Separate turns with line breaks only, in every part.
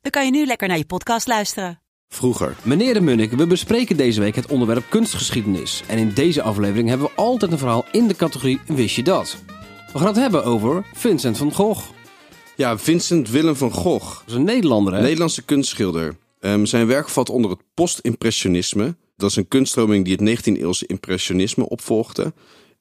dan kan je nu lekker naar je podcast luisteren.
Vroeger.
Meneer de Munnik, we bespreken deze week het onderwerp kunstgeschiedenis. En in deze aflevering hebben we altijd een verhaal in de categorie Wist je dat? We gaan het hebben over Vincent van Gogh.
Ja, Vincent Willem van Gogh,
Dat is een Nederlander, hè?
Nederlandse kunstschilder. Ehm, zijn werk valt onder het postimpressionisme. Dat is een kunststroming die het 19e-eeuwse impressionisme opvolgde.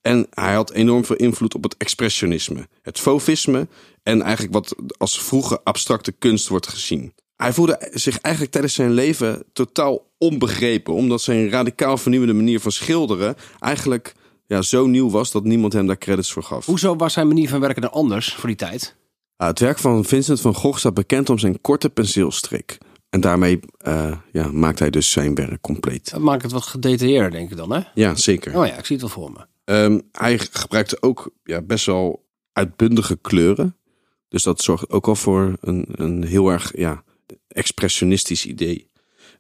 En hij had enorm veel invloed op het expressionisme, het fauvisme en eigenlijk wat als vroege abstracte kunst wordt gezien. Hij voelde zich eigenlijk tijdens zijn leven totaal onbegrepen, omdat zijn radicaal vernieuwende manier van schilderen eigenlijk ja, zo nieuw was dat niemand hem daar credits voor gaf.
Hoezo was zijn manier van werken dan anders voor die tijd?
Ah, het werk van Vincent van Gogh staat bekend om zijn korte penseelstrik. En daarmee eh, ja, maakt hij dus zijn werk compleet.
Dat maakt het wat gedetailleerder, denk ik dan, hè?
Ja, zeker.
Oh ja, ik zie het wel voor me.
Ehm, hij gebruikte ook ja, best wel uitbundige kleuren. Dus dat zorgt ook al voor een, een heel erg ja, expressionistisch idee.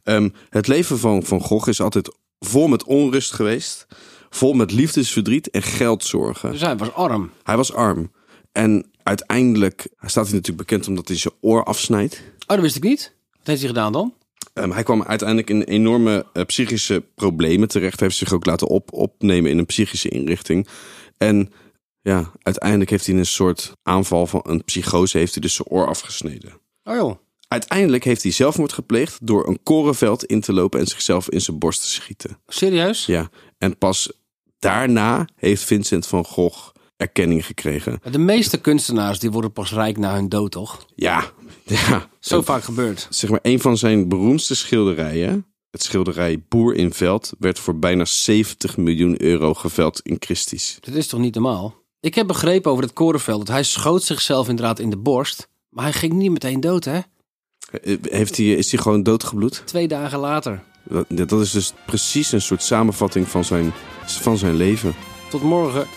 Ehm, het leven van Van Gogh is altijd vol met onrust geweest. Vol met liefdesverdriet en geldzorgen.
Dus hij was arm.
Hij was arm. En uiteindelijk hij staat hij natuurlijk bekend omdat hij zijn oor afsnijdt.
Oh, dat wist ik niet. Wat heeft hij gedaan dan?
Ehm, hij kwam uiteindelijk in enorme eh, psychische problemen terecht. Hij heeft zich ook laten op opnemen in een psychische inrichting. En ja, uiteindelijk heeft hij in een soort aanval van een psychose heeft hij dus zijn oor afgesneden.
Oh joh.
Uiteindelijk heeft hij zelfmoord gepleegd door een korenveld in te lopen en zichzelf in zijn borst te schieten.
Serieus?
Ja, en pas daarna heeft Vincent van Gogh erkenning gekregen.
De meeste kunstenaars die worden pas rijk na hun dood, toch?
Ja, ja.
Zo vaak gebeurt.
zeg maar, een van zijn beroemdste schilderijen, het schilderij Boer in Veld, werd voor bijna 70 miljoen euro geveld in Christie's.
Dit is toch niet normaal? Ik heb begrepen over het korenveld dat hij schoot zichzelf inderdaad in de borst. Maar hij ging niet meteen dood, hè?
Eh, Heeft hij, is hij gewoon doodgebloed?
Twee dagen later.
Dat, dat is dus precies een soort samenvatting van zijn, van zijn leven.
Tot morgen.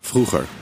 Vroeger.